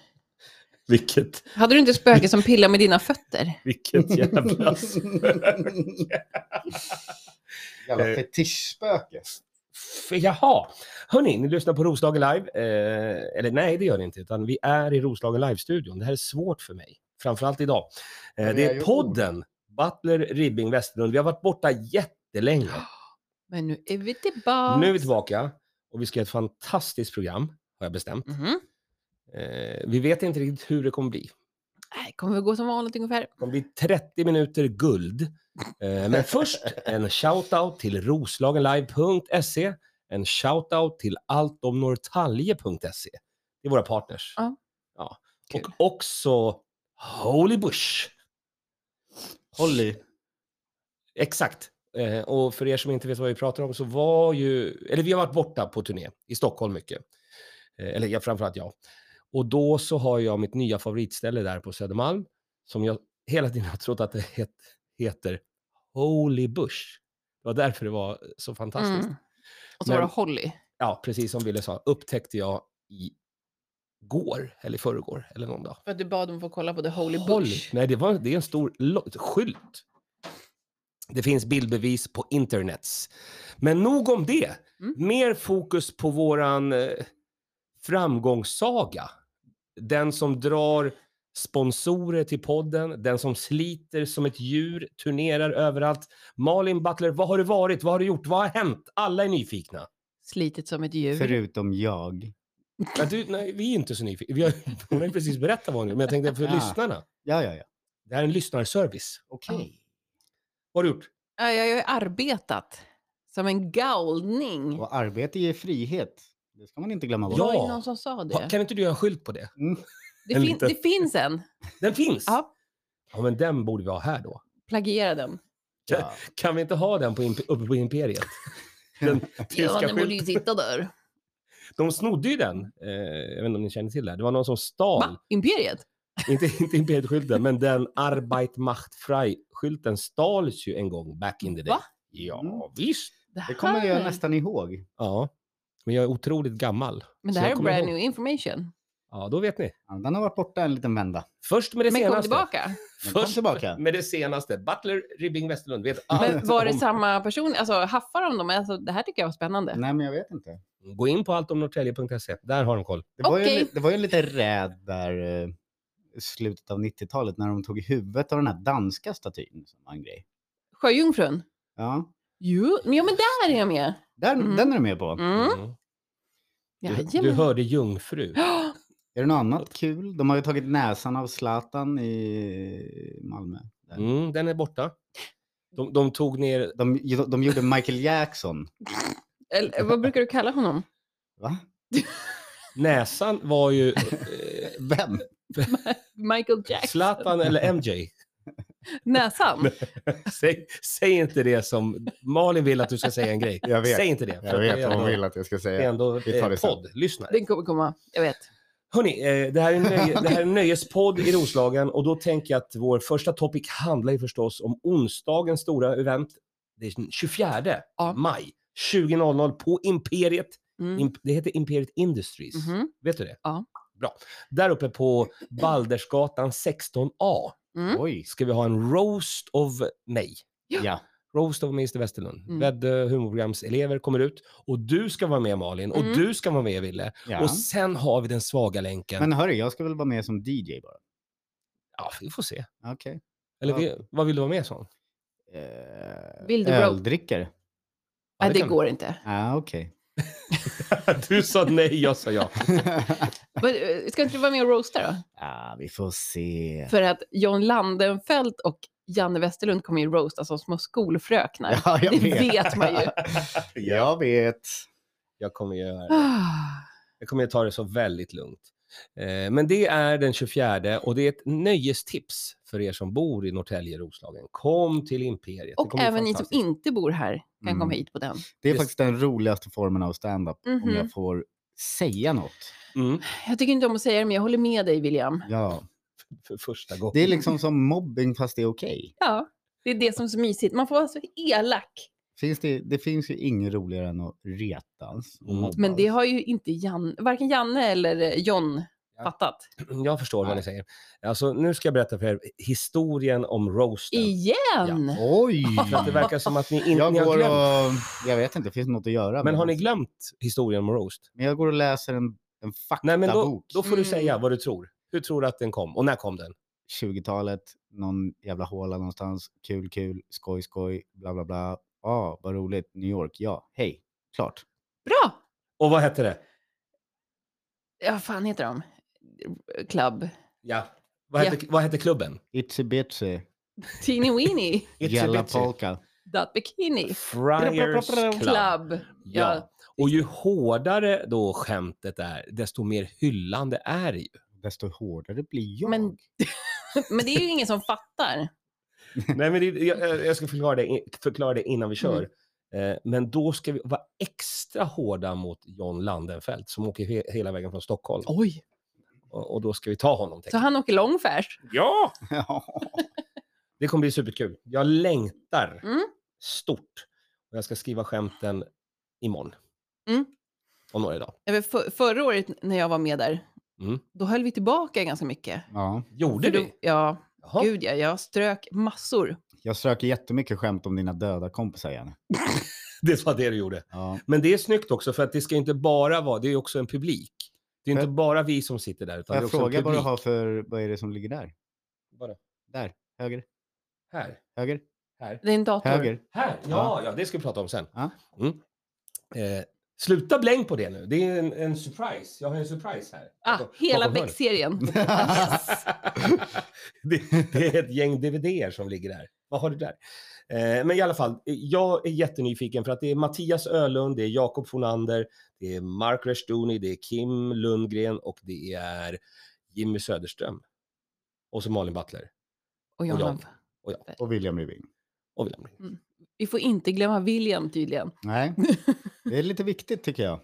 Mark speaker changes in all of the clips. Speaker 1: Vilket,
Speaker 2: Hade du inte spöke som pillar med dina fötter?
Speaker 1: vilket jävla spöke.
Speaker 3: Jävla
Speaker 1: Eh.
Speaker 3: fetischspöke.
Speaker 1: F- Jaha, hörni, ni lyssnar på Roslagen Live. Eh, eller nej, det gör ni inte, utan vi är i Roslagen Live-studion. Det här är svårt för mig, framförallt idag. Eh,
Speaker 3: Men
Speaker 1: det
Speaker 3: jag
Speaker 1: är
Speaker 3: gör
Speaker 1: podden Butler, Ribbing, Westerlund. Vi har varit borta jättelänge.
Speaker 2: Men nu är vi tillbaka.
Speaker 1: Nu är vi tillbaka och vi ska göra ett fantastiskt program, har jag bestämt.
Speaker 2: Mhm.
Speaker 1: Eh, vi vet inte riktigt hur det kommer bli.
Speaker 2: Nej, kommer vi gå som vanligt ungefär.
Speaker 1: Det kommer bli 30 minuter guld. Eh, Men först en shoutout till roslagenlive.se, en shoutout till alltomnortalje.se. Det är våra partners.
Speaker 2: Ja.
Speaker 1: Ja.
Speaker 2: Kul.
Speaker 1: Och också Holy Bush.
Speaker 4: Holly.
Speaker 1: Exakt. Eh, Och för er som inte vet vad vi pratar om så var ju, eller vi har varit borta på turné i Stockholm mycket. Eh, Eller jag, framförallt jag. Och då så har jag mitt nya favoritställe där på Södermalm som jag hela tiden har trott att det het, heter Holy Bush. Det var därför det var eh, så fantastiskt.
Speaker 2: Mm. Och så var
Speaker 1: Men-
Speaker 2: det Holly.
Speaker 1: Ja, precis som Wille sa, upptäckte jag i går eller i förrgår eller någon dag.
Speaker 2: För att du bad dem få kolla på The Holy
Speaker 1: Håll-
Speaker 2: Bush.
Speaker 1: Nej, det, var, det är en stor lo- skylt. Det finns bildbevis på internets. Men nog om det.
Speaker 2: Mm.
Speaker 1: Mer fokus på våran eh, framgångssaga. Den som drar sponsorer till podden, den som sliter som ett djur, turnerar överallt. Malin Butler, vad har det varit? Vad har du gjort? Vad har hänt? Alla är nyfikna.
Speaker 2: Slitet som ett djur.
Speaker 4: Förutom jag.
Speaker 1: Ja, du, nej, vi är inte så nyfikna. Vi har, hon har ju precis berättat vad hon gjorde, men jag tänkte för
Speaker 4: Ja.
Speaker 1: lyssnarna.
Speaker 4: Ja, ja, ja.
Speaker 1: Det här är en lyssnarservice.
Speaker 4: Okej.
Speaker 1: Vad har du gjort?
Speaker 2: Ja, jag har ju arbetat som en galning.
Speaker 4: Och arbete ger frihet. Det ska man inte glömma bort.
Speaker 2: Det var ju
Speaker 1: Ja.
Speaker 2: någon som sa
Speaker 1: Ha-
Speaker 2: det.
Speaker 1: Kan inte du göra en skylt på det?
Speaker 4: Mm.
Speaker 2: Det,
Speaker 1: en
Speaker 2: fin-
Speaker 1: liten-
Speaker 2: det finns en.
Speaker 1: Den finns!
Speaker 2: Ja,
Speaker 1: Ja, men den borde vi ha här då.
Speaker 2: plagiera den.
Speaker 4: Ja.
Speaker 1: Kan vi inte ha den på imp- uppe på Imperiet? Den
Speaker 2: Ja,
Speaker 1: tyska
Speaker 2: den borde ju
Speaker 1: skylten.
Speaker 2: sitta där.
Speaker 1: De snodde ju den. Eh, jag vet inte om ni känner till det. här. Det var någon som stal,
Speaker 2: Va? Imperiet?
Speaker 1: inte, inte Imperiet-skylten, men den Arbeit macht frei-skylten stals ju en gång back in the day.
Speaker 2: Va?
Speaker 1: Ja,
Speaker 4: Mm.
Speaker 1: visst.
Speaker 4: Det kommer jag
Speaker 2: här-
Speaker 4: nästan ihåg.
Speaker 1: Ja, men jag är otroligt gammal.
Speaker 2: Men det
Speaker 1: så
Speaker 2: här
Speaker 1: jag
Speaker 2: är
Speaker 1: kommer
Speaker 2: brand
Speaker 1: ihåg.
Speaker 2: new information.
Speaker 1: Ja, då vet ni.
Speaker 4: Ja, Den har varit borta en liten vända.
Speaker 1: Först med det
Speaker 2: Men kom
Speaker 1: senaste.
Speaker 2: tillbaka.
Speaker 4: Men kom
Speaker 1: Först
Speaker 4: tillbaka.
Speaker 1: med det senaste. Butler, Ribbing, Westerlund vet
Speaker 2: Men
Speaker 1: allt
Speaker 2: var det
Speaker 1: om-
Speaker 2: samma person? Alltså haffar de dem? Alltså, det här tycker jag var spännande.
Speaker 1: Mm.
Speaker 4: Nej, men jag vet inte.
Speaker 1: Gå in på alltomnorrtälje.se. E. Där har de koll.
Speaker 4: Det var, ju,
Speaker 2: Okej.
Speaker 4: li- det var ju lite räd där eh, i slutet av 90-talet när de tog huvudet av den här danska statyn som var en grej.
Speaker 2: Sjöjungfrun?
Speaker 4: Ja,
Speaker 2: Jo, men- ja men där är jag med.
Speaker 4: där,
Speaker 2: Mm.
Speaker 4: den är du med på.
Speaker 2: Mm.
Speaker 1: Mm. Du, du
Speaker 2: Jajamän.
Speaker 1: hörde jungfru.
Speaker 2: Ja,
Speaker 4: Är det något annat kul? De har ju tagit näsan av Zlatan i Malmö. Där.
Speaker 1: Mm, den är borta. De, de tog ner...
Speaker 4: De, de gjorde Michael Jackson.
Speaker 2: Eller, vad brukar du kalla honom?
Speaker 4: Va?
Speaker 1: Näsan var ju... eh,
Speaker 4: Vem?
Speaker 2: Michael Jackson?
Speaker 1: Zlatan eller MJ.
Speaker 2: Näsan?
Speaker 1: Säg, säg inte det som... Malin vill att du ska säga en grej.
Speaker 4: Jag vet.
Speaker 1: Säg inte det. för
Speaker 4: Jag
Speaker 1: det
Speaker 4: vet
Speaker 1: är
Speaker 4: vad hon
Speaker 1: ändå-
Speaker 4: vill att jag ska
Speaker 1: Det är
Speaker 2: Mm.
Speaker 4: säga.
Speaker 1: ändå
Speaker 4: Vi tar det
Speaker 1: eh,
Speaker 4: sen.
Speaker 1: podd, lyssnare.
Speaker 2: Den kommer komma, jag vet.
Speaker 1: Hörni, eh, det här är en nöje, det här är en nöjespodd i Roslagen och då tänker jag att vår första topic handlar ju förstås om onsdagens stora event. Det är den 24
Speaker 2: Ja.
Speaker 1: maj 20.00 på Imperiet.
Speaker 2: Mm.
Speaker 1: Imp- det heter Imperiet Industries.
Speaker 2: Mhm.
Speaker 1: Vet du det?
Speaker 2: Ja.
Speaker 1: Bra. Där uppe på Baldersgatan 16A
Speaker 2: Mm.
Speaker 4: Oj.
Speaker 1: ska vi ha en roast of mig.
Speaker 4: Ja.
Speaker 1: Roast of Mr Westerlund.
Speaker 2: Mm.
Speaker 1: Väddö humorprogramselever kommer ut och du ska vara med Malin och
Speaker 2: Mm.
Speaker 1: du ska vara med Ville.
Speaker 4: ja.
Speaker 1: Och sen har vi den svaga länken.
Speaker 4: Men hörru, jag ska väl vara med som DJ bara?
Speaker 1: Ja, vi får se.
Speaker 4: Okej.
Speaker 1: Eller
Speaker 4: Ja.
Speaker 1: vi, vad vill du vara med som?
Speaker 4: Eh,
Speaker 2: Vill du bro-
Speaker 4: öldrickare?
Speaker 1: Ja,
Speaker 2: Nej, det
Speaker 1: kan vi.
Speaker 2: går inte.
Speaker 4: Ja, okej.
Speaker 1: Du sa nej, jag sa ja.
Speaker 2: Men, eh, Ska inte du vara med och roasta då?
Speaker 4: ja, vi får se.
Speaker 2: För att John Landenfelt och Janne Westerlund kommer ju roasta som små skolfröknar.
Speaker 4: Ja, jag
Speaker 2: det vet man ju.
Speaker 4: jag vet.
Speaker 1: Jag kommer göra
Speaker 2: Ah,
Speaker 1: Jag kommer att ta det så väldigt lugnt. Eh, Men det är den 24 och det är ett nöjestips för er som bor i Norrtälje, Roslagen. Kom till Imperiet. Det
Speaker 2: och
Speaker 1: kommer bli
Speaker 2: även ni som
Speaker 1: fantastiskt.
Speaker 2: inte bor här kan
Speaker 4: Mm.
Speaker 2: komma hit på den.
Speaker 4: Det är
Speaker 1: Just-
Speaker 4: faktiskt den roligaste formen av stand-up, om
Speaker 2: Mhm.
Speaker 4: jag får säga något.
Speaker 1: Mm,
Speaker 2: Jag tycker inte om att säga det, men jag håller med dig William.
Speaker 4: Ja.
Speaker 1: för första gången.
Speaker 4: Det är liksom som mobbing fast det är okej.
Speaker 2: Ja, det är det som är så mysigt. Man får vara så elak.
Speaker 4: Finns det, det finns ju inget roligare än att retas och
Speaker 1: Mm.
Speaker 4: mobbas.
Speaker 2: Men det har ju inte Jan, varken Janne eller eh, John fattat.
Speaker 1: Jag förstår vad
Speaker 4: Nej.
Speaker 1: ni säger. Alltså, nu ska jag berätta för er historien om roasten.
Speaker 2: Igen!
Speaker 4: Oj!
Speaker 1: För att det verkar som att ni inte
Speaker 4: jag
Speaker 1: ni har
Speaker 4: går
Speaker 1: glömt.
Speaker 4: och... Jag vet inte, det finns något att göra.
Speaker 1: Men
Speaker 4: med
Speaker 1: har
Speaker 4: det.
Speaker 1: ni glömt historien om roast?
Speaker 4: Men jag går och läser en, en
Speaker 1: Nej, men då,
Speaker 4: faktabok.
Speaker 1: då får du
Speaker 2: Mm.
Speaker 1: säga vad du tror. Hur tror du att den kom? Och när kom den?
Speaker 4: 20-talet, någon jävla håla någonstans. Kul, kul, skoj, skoj, bla, bla, bla. ah, vad roligt. New York, ja. Hej. Klart.
Speaker 2: Bra!
Speaker 1: Och vad hette det?
Speaker 2: Ja, vad fan heter de? Club.
Speaker 1: Ja. Vad hette, Vad hette klubben?
Speaker 4: Itsy bitsy,
Speaker 2: Teeny Weeny.
Speaker 4: jalla
Speaker 1: Bitsy.
Speaker 4: polka.
Speaker 2: That Bikini.
Speaker 1: Friars Club.
Speaker 2: Club.
Speaker 1: Ja. Och ju hårdare då skämtet är, desto mer hyllande är det ju.
Speaker 4: Desto hårdare blir jag.
Speaker 2: Men- Men det är ju ingen som fattar.
Speaker 1: Nej, men det, jag, jag- jag ska förklara det, i- förklara det innan vi
Speaker 2: Mm.
Speaker 1: kör. Eh, Men då ska vi vara extra hårda mot John Landenfelt som åker he, hela vägen från Stockholm.
Speaker 2: Oj.
Speaker 1: Och, och då ska vi ta honom.
Speaker 2: Så
Speaker 1: tänker jag.
Speaker 2: han åker långfärs.
Speaker 1: Ja!
Speaker 4: Ja.
Speaker 1: Det kommer bli superkul. Jag längtar
Speaker 2: Mm.
Speaker 1: stort. Och jag ska skriva skämten imorgon.
Speaker 2: Mm.
Speaker 1: Om några dagar.
Speaker 2: Ja, men För, förra året när jag var med där,
Speaker 1: Mm.
Speaker 2: då höll vi tillbaka ganska mycket.
Speaker 4: ja.
Speaker 1: Gjorde
Speaker 2: För då-
Speaker 1: vi?
Speaker 2: Ja,
Speaker 1: Jaha.
Speaker 2: gud ja. Jag strök massor.
Speaker 4: Jag söker jättemycket skämt om dina döda kompisar igen.
Speaker 1: Det var det du gjorde.
Speaker 4: Ja.
Speaker 1: Men det är snyggt också för att det ska inte bara vara, det är också en publik. Det är inte
Speaker 4: Får-
Speaker 1: bara vi som sitter där utan det är
Speaker 4: Jag
Speaker 1: också
Speaker 4: frågar
Speaker 1: en
Speaker 4: vad du
Speaker 1: publik.
Speaker 4: har för, vad är det som ligger där?
Speaker 1: Vadå?
Speaker 4: Där, höger,
Speaker 1: Här,
Speaker 4: höger,
Speaker 1: här,
Speaker 2: Det är en dator.
Speaker 4: höger.
Speaker 1: här. Ja,
Speaker 4: Ja.
Speaker 1: ja, det ska vi prata om sen.
Speaker 4: Ja.
Speaker 1: Mm. Eh, sluta bläng på det nu. Det är en, en surprise. Jag har en surprise här.
Speaker 2: Ah,
Speaker 1: Bakom-
Speaker 2: hela
Speaker 1: bakom hörnet.
Speaker 2: Beck-serien.
Speaker 1: det, det är ett gäng dvd som ligger där. Vad har du där? Eh, men i alla fall, eh, jag är jättenyfiken för att det är Mattias Ölund, det är Jakob Fonander, det är Mark Restuni, det är Kim Lundgren och det är Jimmy Söderström. Och så Malin Butler
Speaker 2: Och
Speaker 1: Och
Speaker 2: John.
Speaker 1: jag.
Speaker 4: och William Rybing.
Speaker 1: och William. Ring.
Speaker 2: Vi får inte glömma William tydligen.
Speaker 4: Nej, det är lite viktigt tycker jag.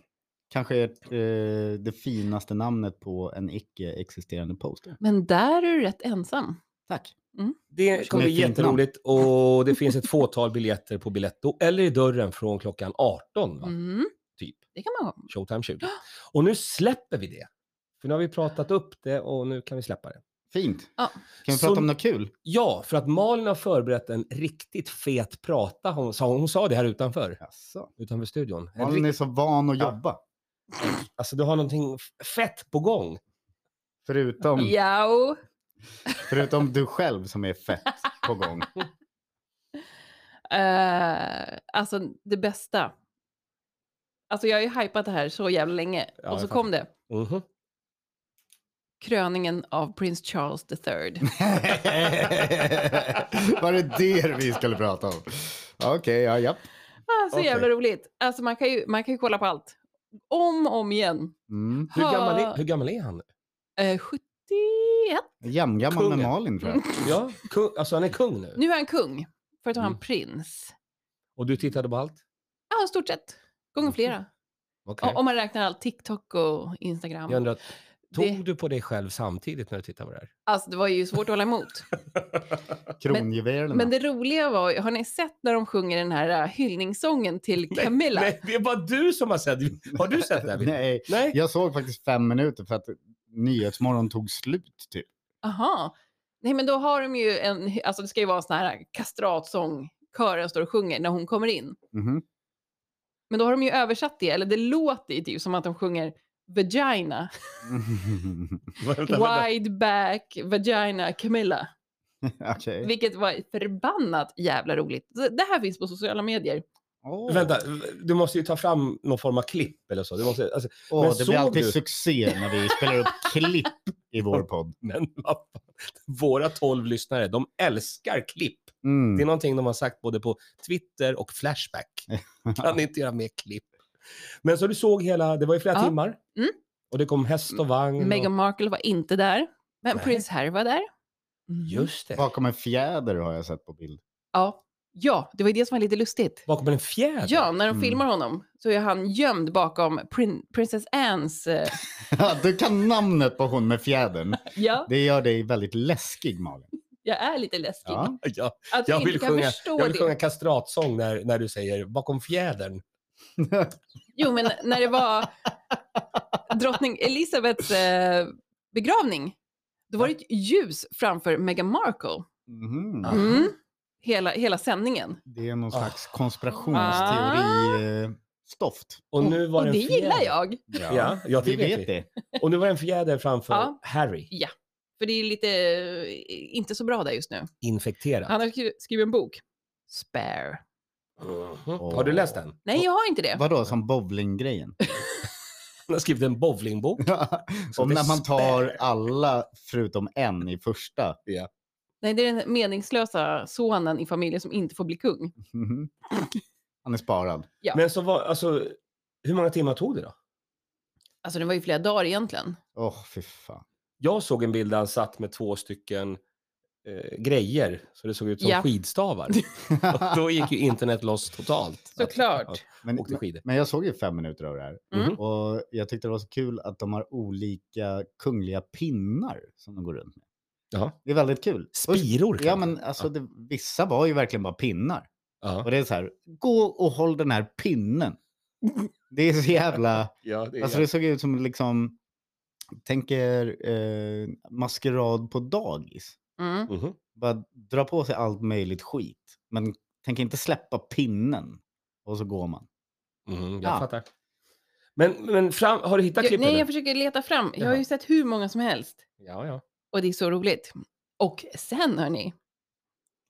Speaker 4: Kanske ert, eh, det finaste namnet på en icke-existerande poster.
Speaker 2: Men där är du rätt ensam.
Speaker 4: Tack.
Speaker 1: Det kommer bli
Speaker 4: Vilket fint namn.
Speaker 1: jätteroligt och det finns ett fåtal biljetter på Biletto eller i dörren från klockan 18. Va?
Speaker 2: Mm.
Speaker 1: Typ.
Speaker 2: Det kan man ha.
Speaker 1: Showtime 20. Och nu släpper vi det. För nu har vi pratat upp det och nu kan vi släppa det.
Speaker 4: Fint.
Speaker 2: Ja.
Speaker 4: Kan vi
Speaker 1: Så-
Speaker 4: prata om något kul?
Speaker 1: Ja, för att Malin har förberett en riktigt fet prata. Hon sa, hon sa det här utanför,
Speaker 4: Jaså.
Speaker 1: utanför studion. En
Speaker 4: Malin
Speaker 1: rikt-
Speaker 4: är så van att
Speaker 1: Ja.
Speaker 4: jobba.
Speaker 1: alltså, du har någonting f- fett på gång.
Speaker 4: Förutom,
Speaker 2: Jao.
Speaker 4: förutom du själv som är fett på gång.
Speaker 2: Eh, alltså det bästa. Alltså jag har ju hypat det här så jävla länge.
Speaker 1: Ja,
Speaker 2: och så
Speaker 1: jag
Speaker 2: kom det.
Speaker 1: Mhm.
Speaker 2: Kröningen av prins Charles III.
Speaker 4: Var det det vi skulle prata om? Okej, ja, japp.
Speaker 2: Ah, så
Speaker 4: Okej.
Speaker 2: jävla roligt. Alltså man kan, ju, man kan ju kolla på allt. Om och om igen.
Speaker 4: Mm.
Speaker 1: Hur,
Speaker 2: Ha-
Speaker 1: gammal är, hur gammal är han? nu?
Speaker 2: eh, 71.
Speaker 4: Jämngammal med
Speaker 1: Kungen.
Speaker 4: Malin tror jag.
Speaker 1: Ja, kung, alltså han är kung nu.
Speaker 2: Nu är han kung. Förut var han
Speaker 1: Mm.
Speaker 2: prins.
Speaker 1: Och du tittade på allt?
Speaker 2: Ja, i stort sett. Gånger flera.
Speaker 1: Mm, Okej.
Speaker 2: O- Om man räknar allt. TikTok och Instagram.
Speaker 1: Jag undrar, tog
Speaker 2: Det-
Speaker 1: du på dig själv samtidigt när du tittade på det här?
Speaker 2: Alltså det var ju svårt att hålla emot.
Speaker 4: Kronjuvelerna.
Speaker 2: Men det roliga var, har ni sett när de sjunger den här eh, hyllningssången till Camilla?
Speaker 1: Nej, det är bara du som har sett. Har du sett det här? Nej.
Speaker 4: Nej,
Speaker 1: Nej.
Speaker 4: jag såg faktiskt fem minuter för att Nyhetsmorgon tog slut typ.
Speaker 2: Aha. Nej, men då har de ju en, alltså det ska ju vara en sån här kastratsång, kören står och sjunger när hon kommer in.
Speaker 4: Mhm.
Speaker 2: Men då har de ju översatt det, eller det låter ju typ som att de sjunger vagina,
Speaker 1: Vänta, vänta.
Speaker 2: wide back, vagina, Camilla.
Speaker 4: Okej.
Speaker 2: Vilket var förbannat jävla roligt. Så Det här finns på sociala
Speaker 1: Mm,
Speaker 2: medier.
Speaker 4: Åh.
Speaker 1: Vänta, du måste ju ta fram någon form av klipp eller så. Du måste, alltså,
Speaker 4: Åh,
Speaker 1: Men
Speaker 4: det
Speaker 1: såg
Speaker 4: blir alltid
Speaker 1: du-
Speaker 4: succé när vi spelar upp klipp i vår podd.
Speaker 1: men vad fan. våra tolv lyssnare, de älskar klipp. Det är
Speaker 4: Mm.
Speaker 1: någonting de har sagt både på Twitter och Flashback. Kan ni inte göra mer klipp? Men så du såg hela, det var ju flera
Speaker 2: Ja.
Speaker 1: timmar.
Speaker 2: Mm.
Speaker 1: Och det kom häst och vagn.
Speaker 2: Meghan
Speaker 1: Och,
Speaker 2: Markle var inte där, men
Speaker 1: Nej.
Speaker 2: prins Harry var där. Mm.
Speaker 1: just det.
Speaker 4: Bakom en fjäder har jag sett på bild.
Speaker 2: Ja. ja, det var ju det som var lite lustigt.
Speaker 1: Bakom en fjäder.
Speaker 2: Ja, när de
Speaker 4: Mm.
Speaker 2: filmar honom så är han gömd bakom prin- Princess Annes... eh,
Speaker 4: Ja, du kan namnet på hon med fjädern.
Speaker 2: Ja,
Speaker 4: Det gör dig väldigt läskig, Malin.
Speaker 2: jag är lite läskig.
Speaker 4: Ja.
Speaker 1: Ja,
Speaker 2: Att jag
Speaker 1: jag,
Speaker 2: inte
Speaker 1: vill
Speaker 2: kan
Speaker 1: sjunga,
Speaker 2: förstå
Speaker 1: jag vill
Speaker 2: det.
Speaker 1: sjunga kastratsång när, när du säger bakom fjädern.
Speaker 2: Jo, men när det var drottning Elisabeths eh, begravning, då var det ett ljus framför Meghan Markle.
Speaker 4: Mhm.
Speaker 1: Ja.
Speaker 2: Mm. Hela, hela sändningen.
Speaker 4: Det är någon
Speaker 1: Ah.
Speaker 4: slags
Speaker 2: Ah.
Speaker 4: eh, konspirationsteori-stoft.
Speaker 1: Och nu var
Speaker 2: Och det
Speaker 1: en fjäder.
Speaker 2: gillar jag.
Speaker 1: Ja, ja det
Speaker 4: Vi
Speaker 1: vet,
Speaker 4: vet
Speaker 1: vi.
Speaker 4: det.
Speaker 1: Och nu var det en fjäder framför
Speaker 2: Ja.
Speaker 1: Harry,
Speaker 2: För det är lite, eh, inte så bra där just nu.
Speaker 1: infekterad.
Speaker 2: Han har skri- skrivit en bok. Spare.
Speaker 1: Mhm. Har du läst den?
Speaker 2: Nej, jag har inte det.
Speaker 4: Vadå, som bowlinggrejen?
Speaker 1: Han har skrivit en bowlingbok.
Speaker 4: Om
Speaker 1: det
Speaker 4: när man tar
Speaker 1: spär.
Speaker 4: alla förutom en i första.
Speaker 2: Nej, det är den meningslösa sonen i familjen som inte får bli kung.
Speaker 4: Mhm. Han är sparad.
Speaker 2: Ja.
Speaker 1: Men så var, alltså, hur många timmar tog det då?
Speaker 2: Alltså, det var ju flera dagar egentligen.
Speaker 4: Åh, fy fan.
Speaker 1: Jag såg en bild där han satt med två stycken eh, grejer, så det såg ut som
Speaker 2: Ja.
Speaker 1: skidstavar. Och då gick ju internet loss totalt.
Speaker 2: Såklart.
Speaker 4: men,
Speaker 1: Åkte skidor.
Speaker 4: men jag såg ju fem minuter av det här.
Speaker 2: Mm.
Speaker 4: Och jag tyckte det var så kul att de har olika kungliga pinnar som de går runt med.
Speaker 1: Jaha.
Speaker 4: Det är väldigt kul. Först-
Speaker 1: Spiror
Speaker 4: Ja,
Speaker 1: kanske?
Speaker 4: men alltså det, vissa var ju verkligen bara pinnar.
Speaker 1: ja.
Speaker 4: Och det är så här, gå och håll den här pinnen. Det är så jävla...
Speaker 1: Ja, det är
Speaker 4: Alltså det såg ut som liksom... Tänker eh, maskerad på dagis.
Speaker 2: Mm.
Speaker 1: Mhm.
Speaker 4: Bara dra på sig allt möjligt skit. Men tänk inte släppa pinnen. Och så går man.
Speaker 1: Mhm, jag
Speaker 4: Ja.
Speaker 1: fattar. Men, men fram, har du hittat
Speaker 2: Jag,
Speaker 1: klippet?
Speaker 2: nej,
Speaker 1: nu?
Speaker 2: jag försöker leta fram. Jag har ju
Speaker 1: Jaha.
Speaker 2: sett hur många som helst.
Speaker 1: Ja, ja.
Speaker 2: Och det är så roligt. Och sen hörni,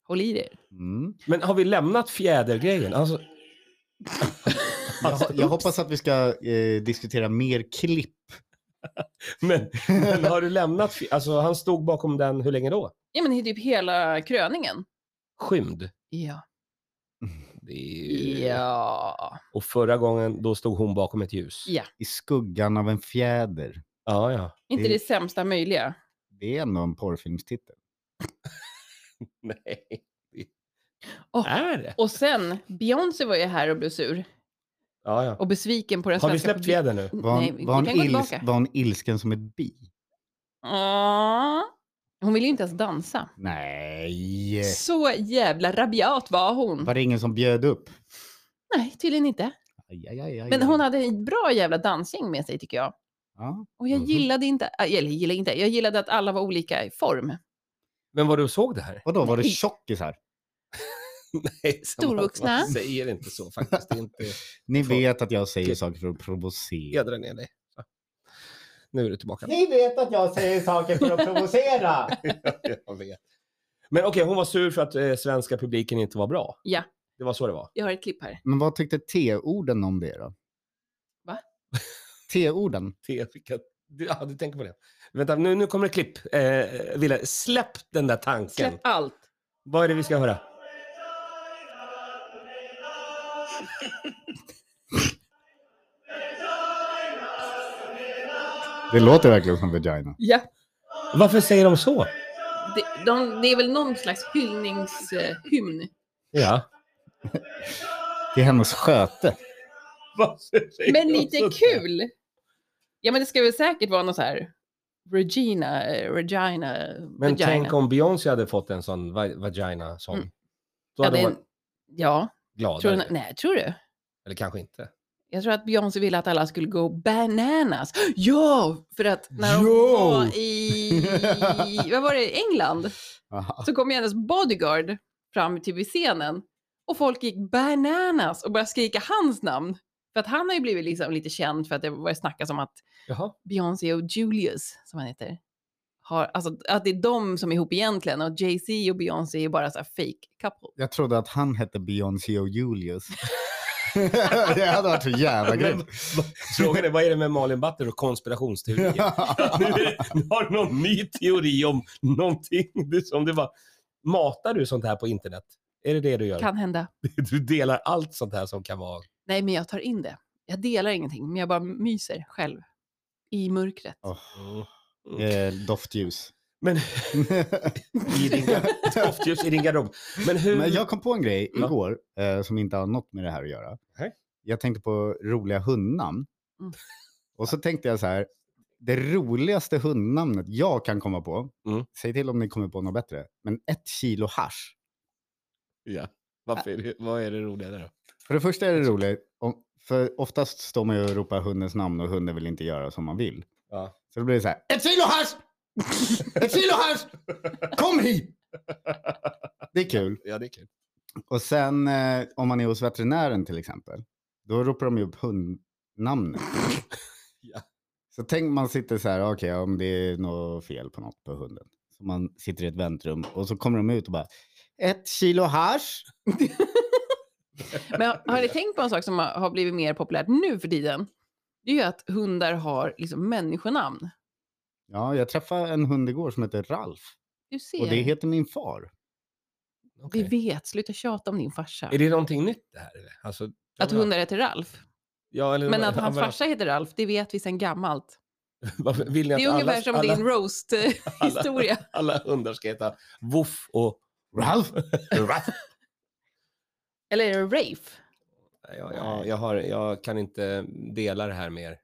Speaker 2: håll i er.
Speaker 4: Mm.
Speaker 1: Men har vi lämnat fjädergrejen? Alltså,
Speaker 4: Jag,
Speaker 1: Alltså,
Speaker 4: jag
Speaker 1: oops.
Speaker 4: hoppas att vi ska eh, diskutera mer klipp.
Speaker 1: men, men har du lämnat... fj- Alltså, han stod bakom den hur länge då?
Speaker 2: Ja, men det är typ hela kröningen.
Speaker 1: Skymd.
Speaker 2: Ja.
Speaker 1: Det är ju-
Speaker 2: Ja.
Speaker 1: Och förra gången, då stod hon bakom ett ljus.
Speaker 2: Ja.
Speaker 4: I skuggan av en fjäder.
Speaker 1: Ja, ja.
Speaker 2: Inte
Speaker 4: Det-
Speaker 2: det sämsta möjliga.
Speaker 4: Det är ändå en porrfilmstitel.
Speaker 1: Nej.
Speaker 2: Åh.
Speaker 1: Är det?
Speaker 2: Och sen, Beyoncé var ju här och blev sur.
Speaker 1: Ja, ja.
Speaker 2: Och besviken på den
Speaker 1: Har vi
Speaker 2: svenska
Speaker 1: släppt
Speaker 2: publiken.
Speaker 1: fjädern nu?
Speaker 4: Var
Speaker 2: Nej,
Speaker 4: hon,
Speaker 2: vi
Speaker 4: var, hon
Speaker 2: kan gå
Speaker 4: ils,
Speaker 2: tillbaka.
Speaker 4: var hon ilsken som ett bi?
Speaker 2: Ah. Hon ville ju inte ens dansa.
Speaker 4: Nej.
Speaker 2: Så jävla rabiat var hon.
Speaker 4: Var det ingen som bjöd upp?
Speaker 2: Nej, tydligen inte.
Speaker 4: Aj, aj, aj, aj,
Speaker 2: Men
Speaker 4: aj.
Speaker 2: hon hade ett bra jävla dansgäng med sig tycker jag.
Speaker 4: Ja.
Speaker 2: Och jag
Speaker 1: Mhm.
Speaker 2: gillade inte, äh, eller gillade inte, jag gillade att alla var olika i form.
Speaker 1: Men var du såg det här?
Speaker 4: Vadå, var det
Speaker 2: Nej.
Speaker 4: tjockisar?
Speaker 1: Nej, så man-
Speaker 2: Storvuxna.
Speaker 1: Man säger inte så faktiskt. Det är inte
Speaker 4: Ni
Speaker 1: Folk-
Speaker 4: vet att jag säger
Speaker 1: Klipp.
Speaker 4: saker för att provocera.
Speaker 1: fjädra ner dig. Så. Nu är du tillbaka.
Speaker 4: Ni vet att jag säger saker för att provocera!
Speaker 1: Jag vet. Men okej, hon var sur för att eh, svenska publiken inte var bra.
Speaker 2: Ja.
Speaker 1: Det var så det var.
Speaker 2: Jag har ett klipp här.
Speaker 4: Men vad tyckte T-orden om det då?
Speaker 2: Va?
Speaker 4: T-orden?
Speaker 1: Det fick jag- du- Ja, du tänker på det. Vänta, nu, nu kommer det klipp. Eh, Wille, släpp den där tanken.
Speaker 2: Släpp allt.
Speaker 1: Vad är det vi ska höra?
Speaker 4: Det låter verkligen som vagina.
Speaker 2: Ja.
Speaker 1: Varför säger de så?
Speaker 2: Det, de, det är väl någon slags hyllningshymn.
Speaker 1: Ja.
Speaker 4: Det är hennes sköte.
Speaker 1: Varför säger
Speaker 2: Men
Speaker 1: de
Speaker 2: lite
Speaker 1: så?
Speaker 2: kul. Ja, men det ska väl säkert vara någon så här Regina, eh, Regina,
Speaker 1: Men
Speaker 2: Vagina.
Speaker 1: tänk om Beyoncé hade fått en sån va- vagina-sång.
Speaker 2: Mm.
Speaker 1: Då
Speaker 2: ja,
Speaker 1: hade
Speaker 2: det,
Speaker 1: hon varit
Speaker 2: ja tror
Speaker 1: gladare.
Speaker 2: du, nej, tror du?
Speaker 1: Eller kanske inte.
Speaker 2: Jag tror att Beyoncé ville att alla skulle gå bananas. Ja, för att när hon
Speaker 1: Jo!
Speaker 2: var i, vad var det, England?
Speaker 4: Aha.
Speaker 2: så kom ju hennes bodyguard fram till vid scenen och folk gick bananas och började skrika hans namn. För att han har ju blivit liksom lite känd för att det började snackas om att
Speaker 1: Jaha.
Speaker 2: Beyoncé och Julius, som han heter, har, alltså, att det är de som är ihop egentligen och Jay-Z och Beyoncé är bara så här fake couple.
Speaker 4: Jag trodde att han hette Beyoncé och Julius. det hade varit så jävla grymt.
Speaker 1: Frågan är, vad är det med Malin Batter och konspirationsteorier? nu, är det- nu har du någon ny teori om någonting. Du, som det var. Matar du sånt här på internet? Är det det du gör?
Speaker 2: Kan hända.
Speaker 1: Du delar allt sånt här som kan vara...
Speaker 2: Nej, men jag tar in det. Jag delar ingenting, men jag bara myser själv i mörkret.
Speaker 4: Åh,
Speaker 1: Mm.
Speaker 4: eh, doftljus.
Speaker 1: Men i din, doftljus i din garderob. Men hur...
Speaker 4: Men jag kom på en grej
Speaker 1: Mm. Ja.
Speaker 4: igår eh, som inte har något med det här att göra.
Speaker 1: Nej.
Speaker 4: Jag tänkte på roliga hundnamn.
Speaker 2: Mm.
Speaker 4: Och så tänkte jag så här, det roligaste hundnamnet jag kan komma på,
Speaker 1: Mm.
Speaker 4: säg till om ni kommer på något bättre, men ett kilo hasch.
Speaker 1: Ja. Varför är det, vad är det roliga där då?
Speaker 4: För det första är det roligt, om, för oftast står man ju och ropar hundens namn och hunden vill inte göra som man vill.
Speaker 1: Ja.
Speaker 4: Så Så då blir det så här. Ett kilo hasch! Ett kilo hasch! Kom hit! Det är kul.
Speaker 1: Ja, det är kul.
Speaker 4: Och sen eh, om man är hos veterinären till exempel, då ropar de ju upp hundnamnet.
Speaker 1: Ja.
Speaker 4: Så tänk man sitter så här, "Ah, okej om det är något fel på något på hunden. Så man sitter i ett väntrum och så kommer de ut och bara, ett kilo hasch.
Speaker 2: Men har- har ni tänkt på en sak som har- har blivit mer populärt nu för tiden? Det är ju att hundar har liksom människonamn.
Speaker 4: Ja, jag träffade en hund igår som heter Ralf
Speaker 2: Du ser,
Speaker 4: och det heter min far.
Speaker 1: Okej.
Speaker 2: vi vet, sluta tjata om din farsa.
Speaker 1: Är det någonting nytt det här? eller? Alltså,
Speaker 2: Att hundar heter Ralf.
Speaker 1: Ja, eller,
Speaker 2: Men att hans
Speaker 1: använda-
Speaker 2: farsa heter Ralf, det vet vi sedan gammalt.
Speaker 1: Varför Vill ni att
Speaker 2: Det är ungefär
Speaker 1: alla,
Speaker 2: som
Speaker 1: alla,
Speaker 2: din roast-historia.
Speaker 1: alla hundar ska heta Woof och...
Speaker 4: Ralf?
Speaker 2: Eller är det Rafe?
Speaker 1: Ja, ja, jag, har, jag kan inte dela det här med er.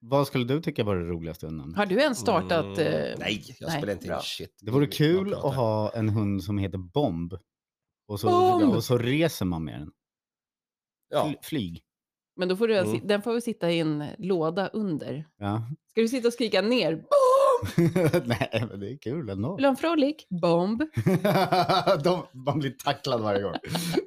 Speaker 4: Vad skulle du tycka var det roligaste hundnamnet?
Speaker 2: Har du ens
Speaker 1: Mm,
Speaker 2: startat... eh,
Speaker 1: nej, jag
Speaker 2: nej,
Speaker 1: spelar inte in
Speaker 2: bra.
Speaker 1: shit.
Speaker 4: Det vore
Speaker 1: Jag
Speaker 4: kul
Speaker 1: pratar.
Speaker 4: att ha en hund som heter Bomb. Och så,
Speaker 2: Bomb!
Speaker 4: och så reser man med den.
Speaker 1: Ja,
Speaker 4: Fly- Flyg.
Speaker 2: Men då får du,
Speaker 1: Mm.
Speaker 2: den får väl sitta i en låda under.
Speaker 4: Ja.
Speaker 2: Ska du sitta och skrika ner? Bomb!
Speaker 4: Nej, men det är kul ändå.
Speaker 2: Vill du ha en frolik? Bomb!
Speaker 4: De, man blir tacklad varje gång.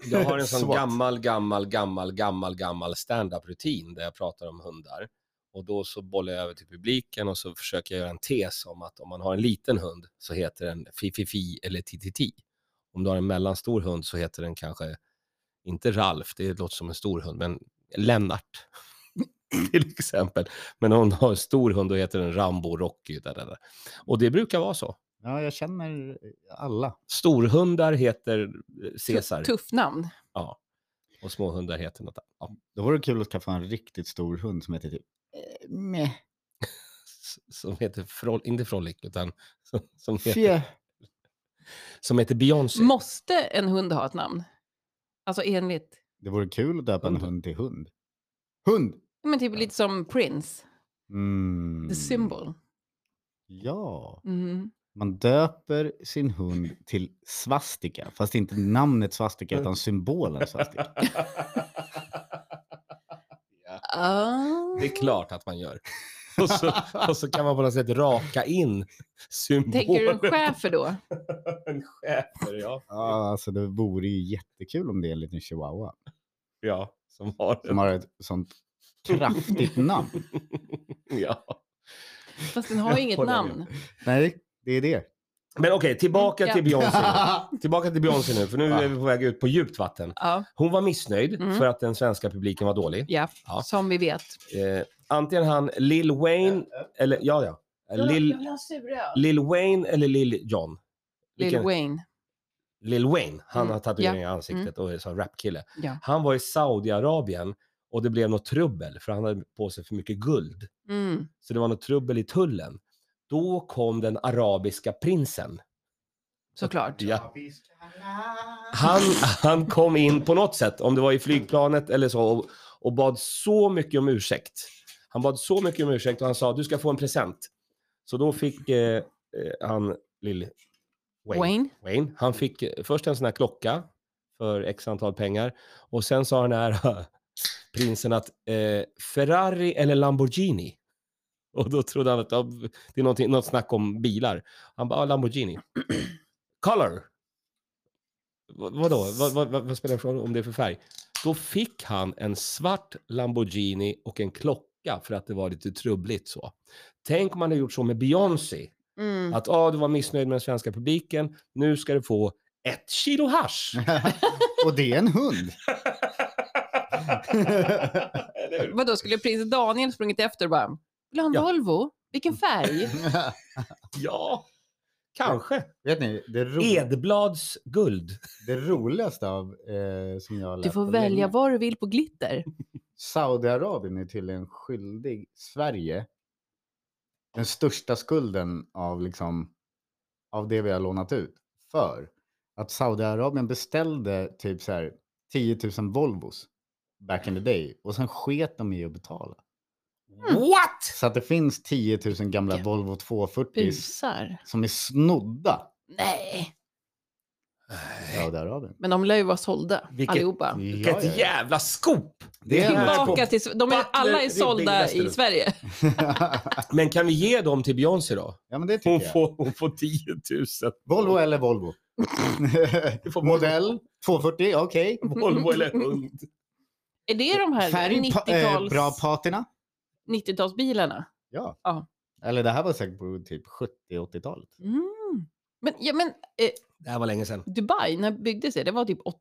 Speaker 1: jag har en sån
Speaker 4: SWAT.
Speaker 1: gammal, gammal, gammal, gammal, gammal stand-up-rutin där jag pratar om hundar. Och då så bollar jag över till publiken och så försöker jag göra en tes om att om man har en liten hund så heter den Fififi eller Tititi. Om du har en mellanstor hund så heter den kanske, inte Ralf, det låter som en stor hund, men Lennart. till exempel. Men om du har en stor hund då heter den Rambo, Rocky. Där, där, där. Och det brukar vara så.
Speaker 4: Ja, jag känner alla.
Speaker 1: Storhundar heter eh, Caesar.
Speaker 2: Tuff namn.
Speaker 1: Och småhundar heter något annat. Ja.
Speaker 4: Då vore det kul att skaffa en riktigt stor hund som heter typ... eh, Meh.
Speaker 1: S- Som heter, Froll, inte Frolic, utan som, som heter,
Speaker 4: Fjä.
Speaker 1: som heter Beyoncé.
Speaker 2: Måste en hund ha ett namn? Alltså enligt...
Speaker 4: Det vore kul att döpa en
Speaker 1: Hunden.
Speaker 4: hund till hund. Hund!
Speaker 2: Ja, Men typ lite som Prince,
Speaker 4: Mm.
Speaker 2: the symbol.
Speaker 4: Ja.
Speaker 2: Mhm.
Speaker 4: Man döper sin hund till svastika. Fast inte namnet svastika utan symbolen svastika.
Speaker 2: Ah.
Speaker 1: Det är klart att man gör. Och så, och så kan man på något sätt raka in symbolen.
Speaker 2: Tänker du en schäfer då?
Speaker 1: en schäfer, ja.
Speaker 4: Ja, alltså det vore ju jättekul om det är en liten chihuahua.
Speaker 1: ja. Som har
Speaker 4: Som
Speaker 1: en.
Speaker 4: har ett sånt kraftigt namn.
Speaker 1: Ja.
Speaker 2: Fast den har ju inget
Speaker 1: håller med.
Speaker 2: namn.
Speaker 4: Nej, det är det.
Speaker 1: Men okej, tillbaka
Speaker 2: Ja.
Speaker 1: till Beyoncé. nu. Tillbaka till Beyoncé nu, för nu
Speaker 4: Ja.
Speaker 1: är vi på väg ut på djupt vatten.
Speaker 2: Ja,
Speaker 1: Hon var missnöjd
Speaker 2: Mm.
Speaker 1: för att den svenska publiken var dålig.
Speaker 2: ja,
Speaker 1: Ja.
Speaker 2: som vi vet.
Speaker 1: Eh, antingen han Lil Wayne, eller ja, ja. Lil,
Speaker 2: ha en suröl.
Speaker 1: Lil Wayne eller Lil John?
Speaker 2: Lil
Speaker 1: Vilken-
Speaker 2: Wayne.
Speaker 1: Lil Wayne, han
Speaker 2: Mm,
Speaker 1: har tatueringar i ansiktet och är så här rapkille.
Speaker 2: Ja.
Speaker 1: Han var i Saudiarabien och det blev något trubbel för han hade på sig för mycket guld.
Speaker 2: Mm.
Speaker 1: Så det var något trubbel i tullen. Då kom den arabiska prinsen.
Speaker 2: Såklart.
Speaker 1: Ja. Han, han kom in på något sätt, om det var i flygplanet eller så, och, och bad så mycket om ursäkt. Han bad så mycket om ursäkt och han sa du ska få en present. Så då fick eh, eh, han Lil Wayne.
Speaker 2: Wayne.
Speaker 1: Wayne. Han fick eh, först en sån här klocka för x antal pengar och sen sa den här prinsen att eh, Ferrari eller Lamborghini. Och då trodde han att ja, det är någonting- något snack om bilar. Han bara, ah, Lamborghini. Color. V- vadå? Vad, vad, vad, vad spelar det för roll om det är för färg? Då fick han en svart Lamborghini och en klocka för att det var lite trubbligt så. Tänk om man hade gjort så med Beyoncé.
Speaker 2: Mm.
Speaker 1: Att ah, du var missnöjd med den svenska publiken, nu ska du få ett kilo hasch.
Speaker 4: Och det är en hund.
Speaker 1: Eller hur?
Speaker 2: Vadå, skulle prins Daniel sprungit efter och bara, vill du ha en
Speaker 1: Ja.
Speaker 2: Volvo? Vilken färg?
Speaker 1: ja, kanske.
Speaker 4: Vet ni, det, ro
Speaker 1: Edblads guld.
Speaker 4: det roligaste av eh, som jag har
Speaker 2: Du
Speaker 4: läst
Speaker 2: får
Speaker 4: på
Speaker 2: välja
Speaker 4: länge.
Speaker 2: vad du vill på glitter.
Speaker 4: Saudiarabien är tydligen skyldig Sverige den största skulden av, liksom, av det vi har lånat ut. För att Saudiarabien beställde typ så här 10 000 Volvos back in the day och sen sket de i att betala. Mm.
Speaker 1: What?
Speaker 4: Så att det finns 10 000 gamla
Speaker 2: Vilka
Speaker 4: Volvo 240
Speaker 2: Busar.
Speaker 4: som är snodda.
Speaker 2: Nej.
Speaker 4: Saudiarabien.
Speaker 2: Men de lär ju vara sålda
Speaker 1: Vilket-
Speaker 2: allihopa.
Speaker 1: Vilket
Speaker 4: Ja, ja, ja.
Speaker 1: jävla scoop!
Speaker 4: Det är
Speaker 2: Tillbaka till, de är,
Speaker 1: Butler,
Speaker 2: alla är
Speaker 1: Ribbing,
Speaker 2: sålda i
Speaker 1: Westerlund.
Speaker 2: Sverige.
Speaker 1: Men kan vi ge dem till Beyoncé då?
Speaker 4: Ja, men det tycker
Speaker 1: Hon
Speaker 4: jag.
Speaker 1: får, hon får 10 000.
Speaker 4: Volvo eller Volvo?
Speaker 1: får Volvo.
Speaker 4: Modell 240, okej.
Speaker 1: Volvo eller hund.
Speaker 2: Är det de här
Speaker 4: Färg, pa- eh,
Speaker 2: 90-tals,
Speaker 4: bra patina.
Speaker 2: 90-talsbilarna?
Speaker 4: Ja.
Speaker 2: Ja.
Speaker 4: Eller det här var säkert på typ 70-80-talet.
Speaker 2: Mm. Men, ja, men eh,
Speaker 1: Det här var länge sedan.
Speaker 2: Dubai, när byggdes det? Det var typ 80?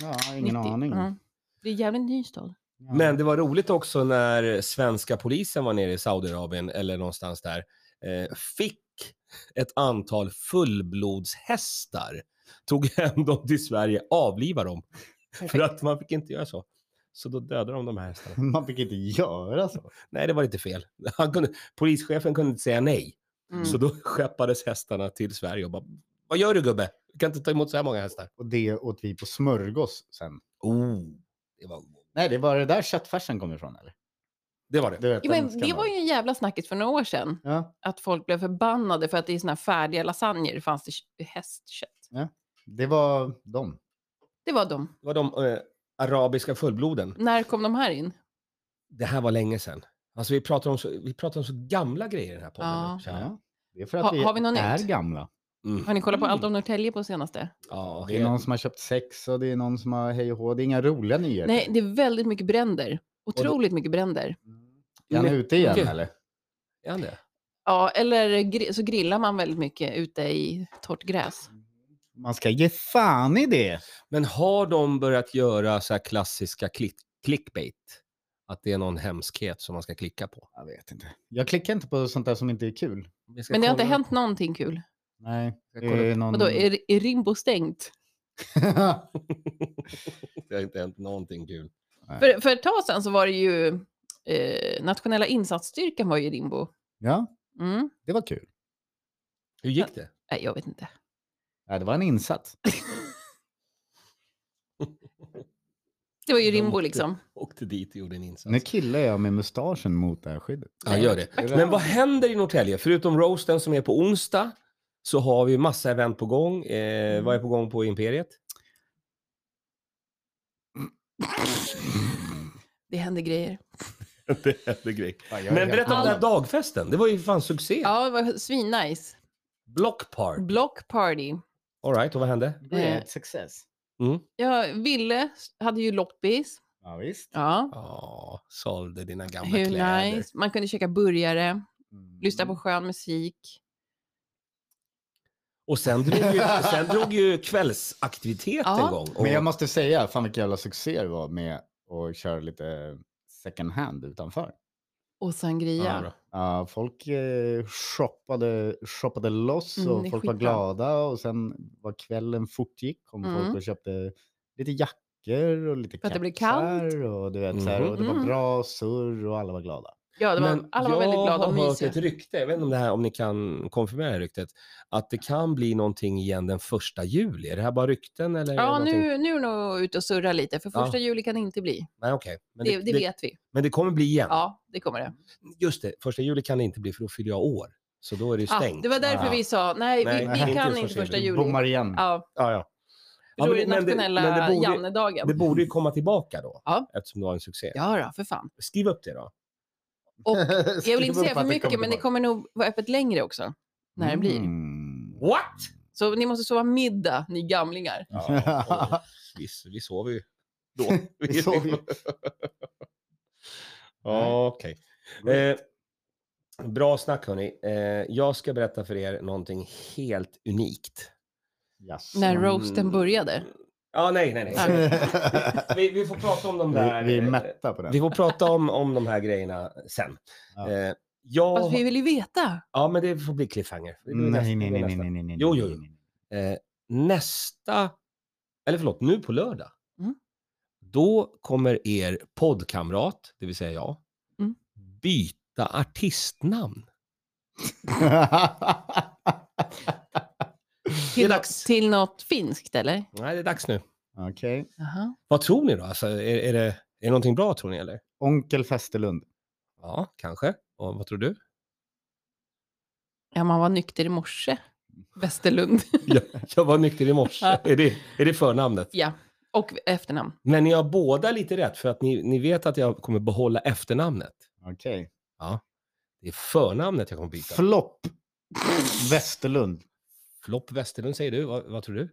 Speaker 4: Ja, ingen
Speaker 2: 90.
Speaker 4: aning.
Speaker 2: Ja. Det är en jävligt ny stad.
Speaker 4: Ja.
Speaker 1: Men det var roligt också när svenska polisen var nere i Saudiarabien eller någonstans där. Eh, fick ett antal fullblodshästar. Tog hem dem till Sverige, avlivade dem. För att man fick inte göra så. Så då dödade de de här hästarna.
Speaker 4: Man fick inte göra så.
Speaker 1: Nej, det var lite fel. Han kunde, polischefen kunde inte säga nej.
Speaker 2: Mm.
Speaker 1: Så då skeppades hästarna till Sverige och bara, vad gör du gubbe? Du kan inte ta emot så här många hästar.
Speaker 4: Och det åt vi på smörgås sen.
Speaker 1: Oh, det var
Speaker 4: Nej, det var det där köttfärsen kom ifrån eller?
Speaker 1: det. Var det.
Speaker 4: Du vet,
Speaker 2: Jo,
Speaker 4: den
Speaker 2: men
Speaker 4: ska
Speaker 2: det
Speaker 4: man-
Speaker 2: var ju en jävla snackis för några år sedan.
Speaker 4: Ja,
Speaker 2: Att folk blev förbannade för att i såna här färdiga lasagner fanns det kö- hästkött.
Speaker 4: det var de.
Speaker 2: Det var de.
Speaker 1: det var de eh, arabiska fullbloden.
Speaker 2: När kom de här in?
Speaker 1: Det här var länge sedan. Alltså vi pratar om så, vi pratar om så gamla grejer i den här podden.
Speaker 2: Ja.
Speaker 1: nu, känner jag.
Speaker 4: Ja. Det är för att
Speaker 2: Ha-
Speaker 4: vi,
Speaker 2: har vi något
Speaker 4: är
Speaker 2: nytt?
Speaker 4: gamla.
Speaker 1: Mm.
Speaker 2: Har ni kollat på Allt om Norrtälje på senaste?
Speaker 1: Ja,
Speaker 4: Det är någon som har köpt sex och det är någon som har hej och hå. Det är inga roliga nyheter.
Speaker 2: Nej, det är väldigt mycket bränder. Otroligt mycket bränder.
Speaker 4: Är han ute igen
Speaker 1: Mycket.
Speaker 4: eller?
Speaker 1: Är han det?
Speaker 2: Ja, eller gri- så grillar man väldigt mycket ute i torrt gräs.
Speaker 4: Man ska ge fan i det.
Speaker 1: Men har de börjat göra så här klassiska klick, clickbait? Att det är någon hemskhet som man ska klicka på.
Speaker 4: Jag vet inte. Jag klickar inte på sånt där som inte är kul.
Speaker 1: Vi ska
Speaker 2: Men det har inte
Speaker 1: kolla-
Speaker 2: hänt någonting kul.
Speaker 4: Nej,
Speaker 1: Jag
Speaker 4: det
Speaker 1: kollar
Speaker 4: är någon...
Speaker 2: Vadå, är, är Rimbo stängt?
Speaker 1: Det har inte hänt någonting kul.
Speaker 2: För, för ett tag sedan så var det ju eh, nationella insatsstyrkan var ju i Rimbo.
Speaker 4: ja,
Speaker 2: Mm.
Speaker 4: det var kul.
Speaker 1: Hur gick det?
Speaker 2: Nej, jag vet inte.
Speaker 4: Ja, det var en insats.
Speaker 2: Det var ju
Speaker 1: De
Speaker 2: Rimbo
Speaker 1: åkte-
Speaker 2: liksom.
Speaker 1: Åkte dit och gjorde en insats.
Speaker 4: Nu killar jag med mustaschen mot det här skyddet.
Speaker 1: Ja, gör det.
Speaker 4: Är
Speaker 1: Men vad händer i Norrtälje? Förutom roasten som är på onsdag så har vi massa event på gång. Eh,
Speaker 2: Mm.
Speaker 1: vad är på gång på Imperiet?
Speaker 2: Det händer grejer.
Speaker 1: det händer grejer.
Speaker 4: Ja, jag är
Speaker 1: Men
Speaker 4: helt
Speaker 1: berätta om den här
Speaker 4: galen.
Speaker 1: dagfesten. Det var ju fan succé.
Speaker 2: Ja, det var svinnice.
Speaker 1: Block Park.
Speaker 2: Block party.
Speaker 1: All right, och vad hände?
Speaker 4: Great success.
Speaker 1: Mm.
Speaker 2: Ja, Ville hade ju loppis.
Speaker 4: Ja, visst.
Speaker 2: Ja,
Speaker 1: Ja, sålde dina gamla
Speaker 2: hur
Speaker 1: kläder. Mm.
Speaker 2: nice. Man kunde käka burgare, lyssna på skön musik.
Speaker 1: Och sen drog ju, sen drog ju kvällsaktivitet
Speaker 2: Ja.
Speaker 1: en gång. Och,
Speaker 4: Mm. Men jag måste säga, fan vilken jävla succé det var med att köra lite second hand utanför.
Speaker 2: Och sangria.
Speaker 1: bra.
Speaker 4: Ja, folk eh, shoppade, shoppade loss
Speaker 2: Mm,
Speaker 4: och
Speaker 2: det är
Speaker 4: folk var
Speaker 2: skitbra.
Speaker 4: glada och sen vad kvällen fortgick kom folk
Speaker 2: Mm.
Speaker 4: och köpte lite jackor och lite
Speaker 2: För att det blev kallt.
Speaker 4: kepsar och du vet så
Speaker 1: Mm-hmm.
Speaker 4: här, och det var
Speaker 2: Mhm.
Speaker 4: bra surr och alla var glada.
Speaker 2: Ja, det var,
Speaker 1: Men
Speaker 2: alla var väldigt glada och
Speaker 1: Jag har hört
Speaker 2: mysiga.
Speaker 1: ett rykte, jag vet inte om, det här, om ni kan konfirmera det här ryktet, att det kan bli någonting igen den första juli. Är det här bara rykten eller? är det
Speaker 2: Ja,
Speaker 1: Eh, någonting?
Speaker 2: nu, nu är du nog ute och surrar lite, för
Speaker 1: Ja.
Speaker 2: första juli kan det inte bli.
Speaker 1: Nej, okej. Men,
Speaker 2: Det, det vet vi.
Speaker 1: men det kommer bli igen.
Speaker 2: Ja, det kommer det.
Speaker 1: Just det, första juli kan det inte bli för då fyller jag år. Så då är det ju
Speaker 2: Ah,
Speaker 1: stängt.
Speaker 2: det var därför
Speaker 4: Ja.
Speaker 2: vi sa, nej,
Speaker 1: Nej,
Speaker 2: vi,
Speaker 4: nej,
Speaker 2: vi
Speaker 4: inte
Speaker 2: kan
Speaker 1: första
Speaker 2: inte första
Speaker 1: juli.
Speaker 2: juli.
Speaker 4: Bommar igen.
Speaker 2: Ja,
Speaker 1: Ja, ja.
Speaker 2: för då är det
Speaker 1: men- men det-
Speaker 2: nationella
Speaker 1: men det borde-
Speaker 2: Jannedagen.
Speaker 1: Det borde ju komma tillbaka då,
Speaker 2: Ja.
Speaker 1: eftersom det var en succé.
Speaker 2: Ja, då, för fan.
Speaker 1: Skriv upp det då.
Speaker 2: Jag vill inte säga för mycket, men det kommer nog vara öppet längre också. När det blir.
Speaker 4: Mm.
Speaker 1: What?
Speaker 2: Så ni måste sova middag, ni gamlingar.
Speaker 1: Ja, vi, vi sover ju då.
Speaker 4: Vi sov ju.
Speaker 1: Ja, Okej. Eh, bra snack hörni. Eh, jag ska berätta för er någonting helt unikt.
Speaker 4: Jaså.
Speaker 2: När
Speaker 1: Mm.
Speaker 2: roasten började.
Speaker 1: Ja, nej, nej,
Speaker 2: Ja.
Speaker 1: nej. Vi, vi får prata om de där.
Speaker 4: vi, vi
Speaker 1: eh,
Speaker 4: är mätta på den.
Speaker 1: vi får prata om, om de här grejerna sen.
Speaker 4: Ja.
Speaker 1: Eh, jag,
Speaker 2: Fast vi vill ju veta.
Speaker 1: Ja, men det får bli cliffhanger. Det blir nästa- det
Speaker 4: Nej, nej,
Speaker 1: blir
Speaker 4: nej,
Speaker 1: nästa.
Speaker 4: nej, nej, nej, nej.
Speaker 1: Jo, jo, jo.
Speaker 4: nej, nej.
Speaker 1: Eh, nästa, eller förlåt, nu på lördag,
Speaker 2: Mm.
Speaker 1: då kommer er poddkamrat, det vill säga jag,
Speaker 2: Mm.
Speaker 1: byta artistnamn. Det är
Speaker 2: Till,
Speaker 1: dags.
Speaker 2: till något finskt eller?
Speaker 1: Nej, det är dags nu.
Speaker 4: Okej.
Speaker 2: Jaha.
Speaker 1: Vad tror ni då? Alltså, är, är, det, är det någonting bra tror ni eller?
Speaker 4: Onkel Festerlund.
Speaker 1: Ja, kanske. Och vad tror du?
Speaker 2: Ja, man var nykter i morse.
Speaker 1: Mm.
Speaker 2: Westerlund.
Speaker 1: Jag, jag var nykter i morse.
Speaker 2: Ja.
Speaker 1: Är, det, är det förnamnet?
Speaker 2: ja, och efternamn.
Speaker 1: Men ni har båda lite rätt för att ni, ni vet att jag kommer behålla efternamnet.
Speaker 4: Okej.
Speaker 1: Det är förnamnet jag kommer byta.
Speaker 4: Flopp. Västerlund.
Speaker 1: Flopp Westerlund säger du. Vad, vad tror du?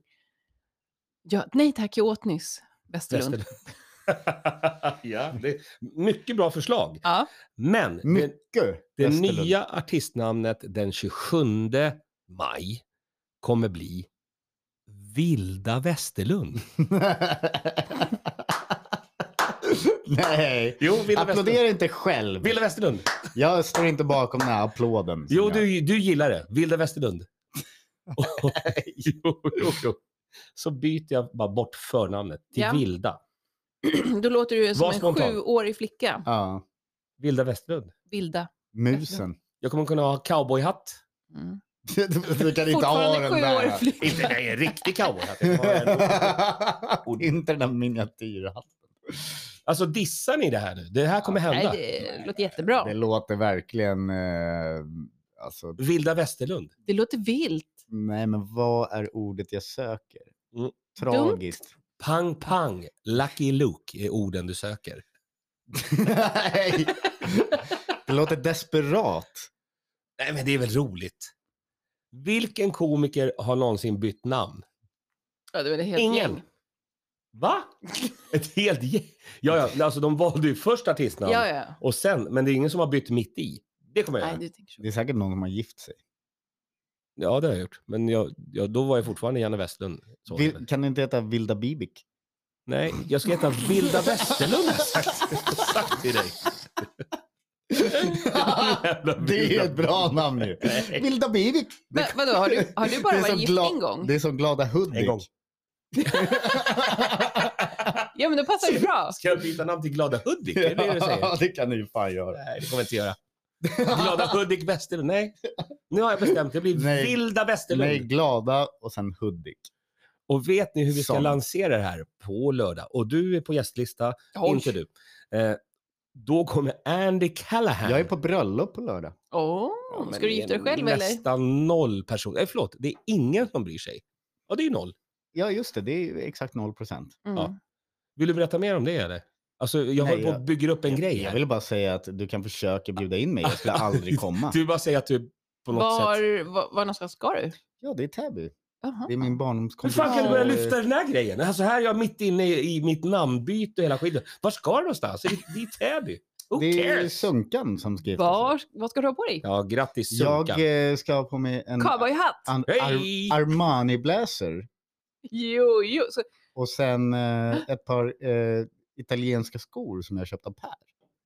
Speaker 2: Ja, nej tack, jag åt nyss Westerlund.
Speaker 1: Westerlund. ja, det är mycket bra förslag.
Speaker 2: Ja.
Speaker 1: Men det,
Speaker 4: Mycket
Speaker 1: det
Speaker 4: Westerlund.
Speaker 1: nya artistnamnet den 27 maj kommer bli Vilda Westerlund.
Speaker 4: Nej.
Speaker 1: Jo, Vilda Westerlund.
Speaker 4: Applådera inte själv.
Speaker 1: Vilda Westerlund.
Speaker 4: Jag står inte bakom den här applåden. som
Speaker 1: Jo,
Speaker 4: jag-
Speaker 1: du, du gillar det. Vilda Westerlund. jo, jo, jo. Så byter jag bara bort förnamnet till
Speaker 2: Ja.
Speaker 1: Vilda.
Speaker 2: Då låter du som
Speaker 1: Var
Speaker 2: en
Speaker 1: spontan.
Speaker 2: sjuårig flicka.
Speaker 4: Ja.
Speaker 1: Vilda Westerlund.
Speaker 2: Vilda.
Speaker 4: Musen.
Speaker 1: Jag kommer kunna ha cowboyhatt.
Speaker 2: Mm.
Speaker 4: Du, du kan inte ha
Speaker 2: Fortfarande
Speaker 4: den där.
Speaker 2: sjuårig flicka.
Speaker 1: Inte nej, en riktig cowboyhatt. Jag kommer ha en-
Speaker 4: inte den där miniatyrhatten.
Speaker 1: Alltså dissar ni det här nu? Det här kommer
Speaker 2: Nej,
Speaker 1: hända.
Speaker 2: det låter jättebra.
Speaker 4: Det låter verkligen... Eh, alltså,
Speaker 1: Vilda Westerlund.
Speaker 2: Det låter vilt.
Speaker 4: nej, men vad är ordet jag söker?
Speaker 1: Mm.
Speaker 4: Tragiskt.
Speaker 1: Pang pang, Lucky Luke är orden du söker.
Speaker 4: nej. Det låter desperat.
Speaker 1: Nej men det är väl roligt. Vilken komiker har någonsin bytt namn?
Speaker 2: Ja, det var det helt
Speaker 1: Ingen.
Speaker 2: gäng.
Speaker 1: Va? Ett helt gäng? Ja, ja, alltså de valde ju först artistnamn
Speaker 2: Ja, ja.
Speaker 1: och sen, men det är ingen som har bytt mitt i. Det kommer jag
Speaker 2: Nej,
Speaker 1: göra.
Speaker 2: du tänker så.
Speaker 4: Det är säkert någon som har gift sig.
Speaker 1: Ja, det har jag gjort. Men jag, jag, då var jag fortfarande Janne Westlund. Så
Speaker 4: Vil, kan du inte heta Vilda Bibik?
Speaker 1: Nej, jag ska heta Vilda Westerlund har jag sagt. Jag har sagt till dig. Jävla
Speaker 4: det
Speaker 1: Vilda
Speaker 4: är ett bra namn ju. Vilda Bibik.
Speaker 2: Men, vadå, har du, har du
Speaker 4: Det
Speaker 2: bara
Speaker 4: är
Speaker 2: varit
Speaker 4: som
Speaker 2: gift
Speaker 4: gla-
Speaker 2: en gång?
Speaker 4: Det är som Glada Hudik.
Speaker 1: En gång.
Speaker 2: Ja, men då passar det bra.
Speaker 1: Ska jag byta namn till Glada Hudik? Är det det du säger?
Speaker 4: Ja, det kan du ju fan göra.
Speaker 1: Nej, det kommer jag inte göra. Glada Hudik Westerlund? Nej. Nu har jag bestämt. Det blir
Speaker 4: Nej.
Speaker 1: Vilda Westerlund.
Speaker 4: Nej, Glada och sen Hudik.
Speaker 1: Och vet ni hur vi ska
Speaker 4: Som.
Speaker 1: lansera det här på lördag? Och du är på gästlista,
Speaker 2: Oj.
Speaker 1: inte du. Eh, då kommer Andy Callahan.
Speaker 4: Jag är på bröllop på lördag.
Speaker 2: Åh,
Speaker 1: Ja, men
Speaker 2: ska du
Speaker 1: det är
Speaker 2: gifta dig själv eller?
Speaker 1: Nästan noll personer. Nej, förlåt. Det är ingen som bryr sig. Ja, det är ju noll.
Speaker 4: Ja, just det. Det är ju exakt noll procent.
Speaker 2: Mm.
Speaker 1: Ja. Vill du berätta mer om det eller? Alltså, jag
Speaker 4: Nej,
Speaker 1: håller på
Speaker 4: jag-
Speaker 1: och bygger upp en grej
Speaker 4: Jag
Speaker 1: här.
Speaker 4: vill bara säga att du kan försöka bjuda in mig. Jag skulle aldrig komma.
Speaker 1: Du bara säger att du på något sätt...
Speaker 2: Var, var, var någonstans ska du?
Speaker 4: Ja, det är Täby.
Speaker 2: Jaha.
Speaker 4: Det är min
Speaker 1: Hur
Speaker 4: barndomskompis.
Speaker 1: fan kan du börja
Speaker 4: Eh,
Speaker 1: lyfta den här grejen? Alltså här är jag mitt inne i, i mitt namnbyte och hela skiten. Var ska du någonstans? Är det- Det är Täby. Who
Speaker 4: Det är
Speaker 1: cares?
Speaker 4: Sunkan som ska gifta sig.
Speaker 2: Var, vad ska du ha på dig?
Speaker 1: Ja, grattis
Speaker 4: Jag
Speaker 1: Sunkan.
Speaker 4: eh, ska ha på mig en,
Speaker 2: Cowboyhatt?
Speaker 4: en Ar-
Speaker 1: Hej!
Speaker 4: Armani-blazer
Speaker 2: Jo, jo. Så,
Speaker 4: och sen eh, ett par eh, italienska skor som jag köpt av Per.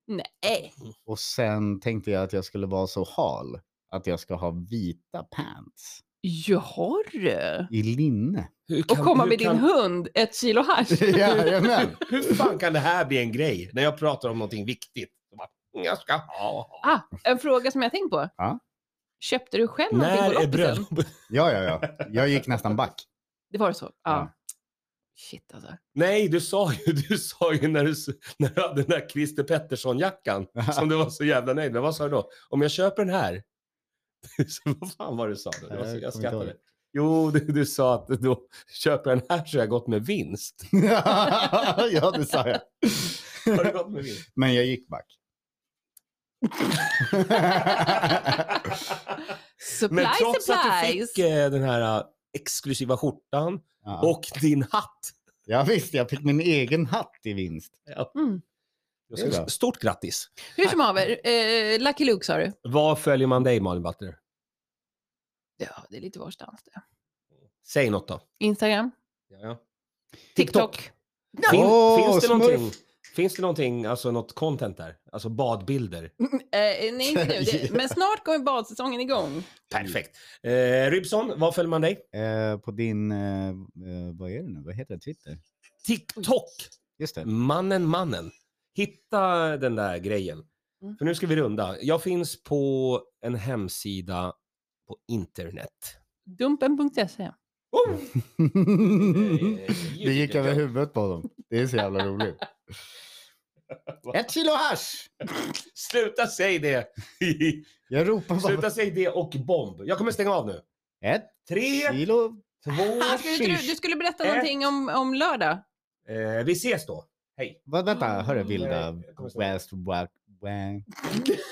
Speaker 2: nej.
Speaker 4: Och sen tänkte jag att jag skulle vara så hal att jag ska ha vita pants
Speaker 2: Jaha du.
Speaker 4: i linne.
Speaker 1: Hur
Speaker 2: Och
Speaker 1: kan-
Speaker 2: komma
Speaker 1: hur
Speaker 2: med din
Speaker 1: kan-
Speaker 2: hund, ett kilo hasch.
Speaker 4: Jajamän.
Speaker 1: Hur fan kan det här bli en grej när jag pratar om någonting viktigt? Så bara, "Mm, Jag ska ha.
Speaker 2: Ah, en fråga som jag tänkt på.
Speaker 4: Ja.
Speaker 2: Köpte du själv någonting
Speaker 1: När
Speaker 2: på
Speaker 1: är
Speaker 2: loppisen?
Speaker 1: bröllopet?
Speaker 4: Ja, ja, ja. Jag gick nästan back.
Speaker 2: Det var så? Ja.
Speaker 4: Ja.
Speaker 2: Shit alltså.
Speaker 1: Nej, du sa ju, du sa ju när, du, s- när du hade den där Christer Pettersson-jackan som du var så jävla nöjd med. Vad sa du då? Om jag köper den här? Så vad fan var det du sa då? Det var så,
Speaker 4: Jag kommer
Speaker 1: jag
Speaker 4: inte
Speaker 1: skrattade.
Speaker 4: ihåg.
Speaker 1: Jo, du, du sa att då köper jag den här så har jag gått med vinst.
Speaker 4: ja, det sa jag.
Speaker 1: Har du gått med vinst?
Speaker 4: Men jag gick back.
Speaker 2: Supply,
Speaker 1: Men trots att du
Speaker 2: supplies.
Speaker 1: fick eh, den här eh, exklusiva skjortan
Speaker 4: ja.
Speaker 1: och din hatt.
Speaker 4: Ja, visst, jag fick min egen hatt i vinst.
Speaker 2: Mm.
Speaker 1: Jag ska-
Speaker 4: Det är bra.
Speaker 1: Stort grattis!
Speaker 2: Hur som haver, eh, Lucky Luke sa du?
Speaker 1: Var följer man dig, Malin Butler?
Speaker 2: Ja, det är lite varstans det.
Speaker 1: Säg något då.
Speaker 2: Instagram,
Speaker 1: TikTok.
Speaker 2: TikTok.
Speaker 1: Fin,
Speaker 4: Åh,
Speaker 1: finns, det
Speaker 4: smurf.
Speaker 1: någonting, finns det någonting, alltså något content där? Alltså badbilder?
Speaker 4: Mm.
Speaker 2: Eh, nej, inte nu. Det, men snart kommer badsäsongen igång.
Speaker 1: Perfekt. Eh, Rybson, var följer man dig?
Speaker 4: Eh, på din, eh, eh, vad är det nu, vad heter det, Twitter?
Speaker 1: TikTok.
Speaker 4: Just
Speaker 1: Mm.
Speaker 4: det.
Speaker 1: Mannen, mannen. Hitta den där grejen.
Speaker 2: Mm.
Speaker 1: För nu ska vi runda. Jag finns på en hemsida på internet.
Speaker 2: Dumpen.se.
Speaker 1: Oh! Eh,
Speaker 4: det gick över huvudet på dem. Det är så jävla roligt. Ett kilo hasch!
Speaker 1: Sluta säg det!
Speaker 4: Jag ropar bara.
Speaker 1: Sluta säg det och bomb. Jag kommer stänga av nu.
Speaker 4: Ett
Speaker 1: Tre,
Speaker 4: kilo.
Speaker 1: två,
Speaker 2: Ah, skulle inte du, du skulle berätta
Speaker 1: Ett.
Speaker 2: någonting om, om lördag.
Speaker 1: eh, Vi ses då. Hej.
Speaker 4: Vad, vänta, hörru
Speaker 2: Mm.
Speaker 4: vilda
Speaker 1: Jag kommer snart.
Speaker 4: West Wack. wack.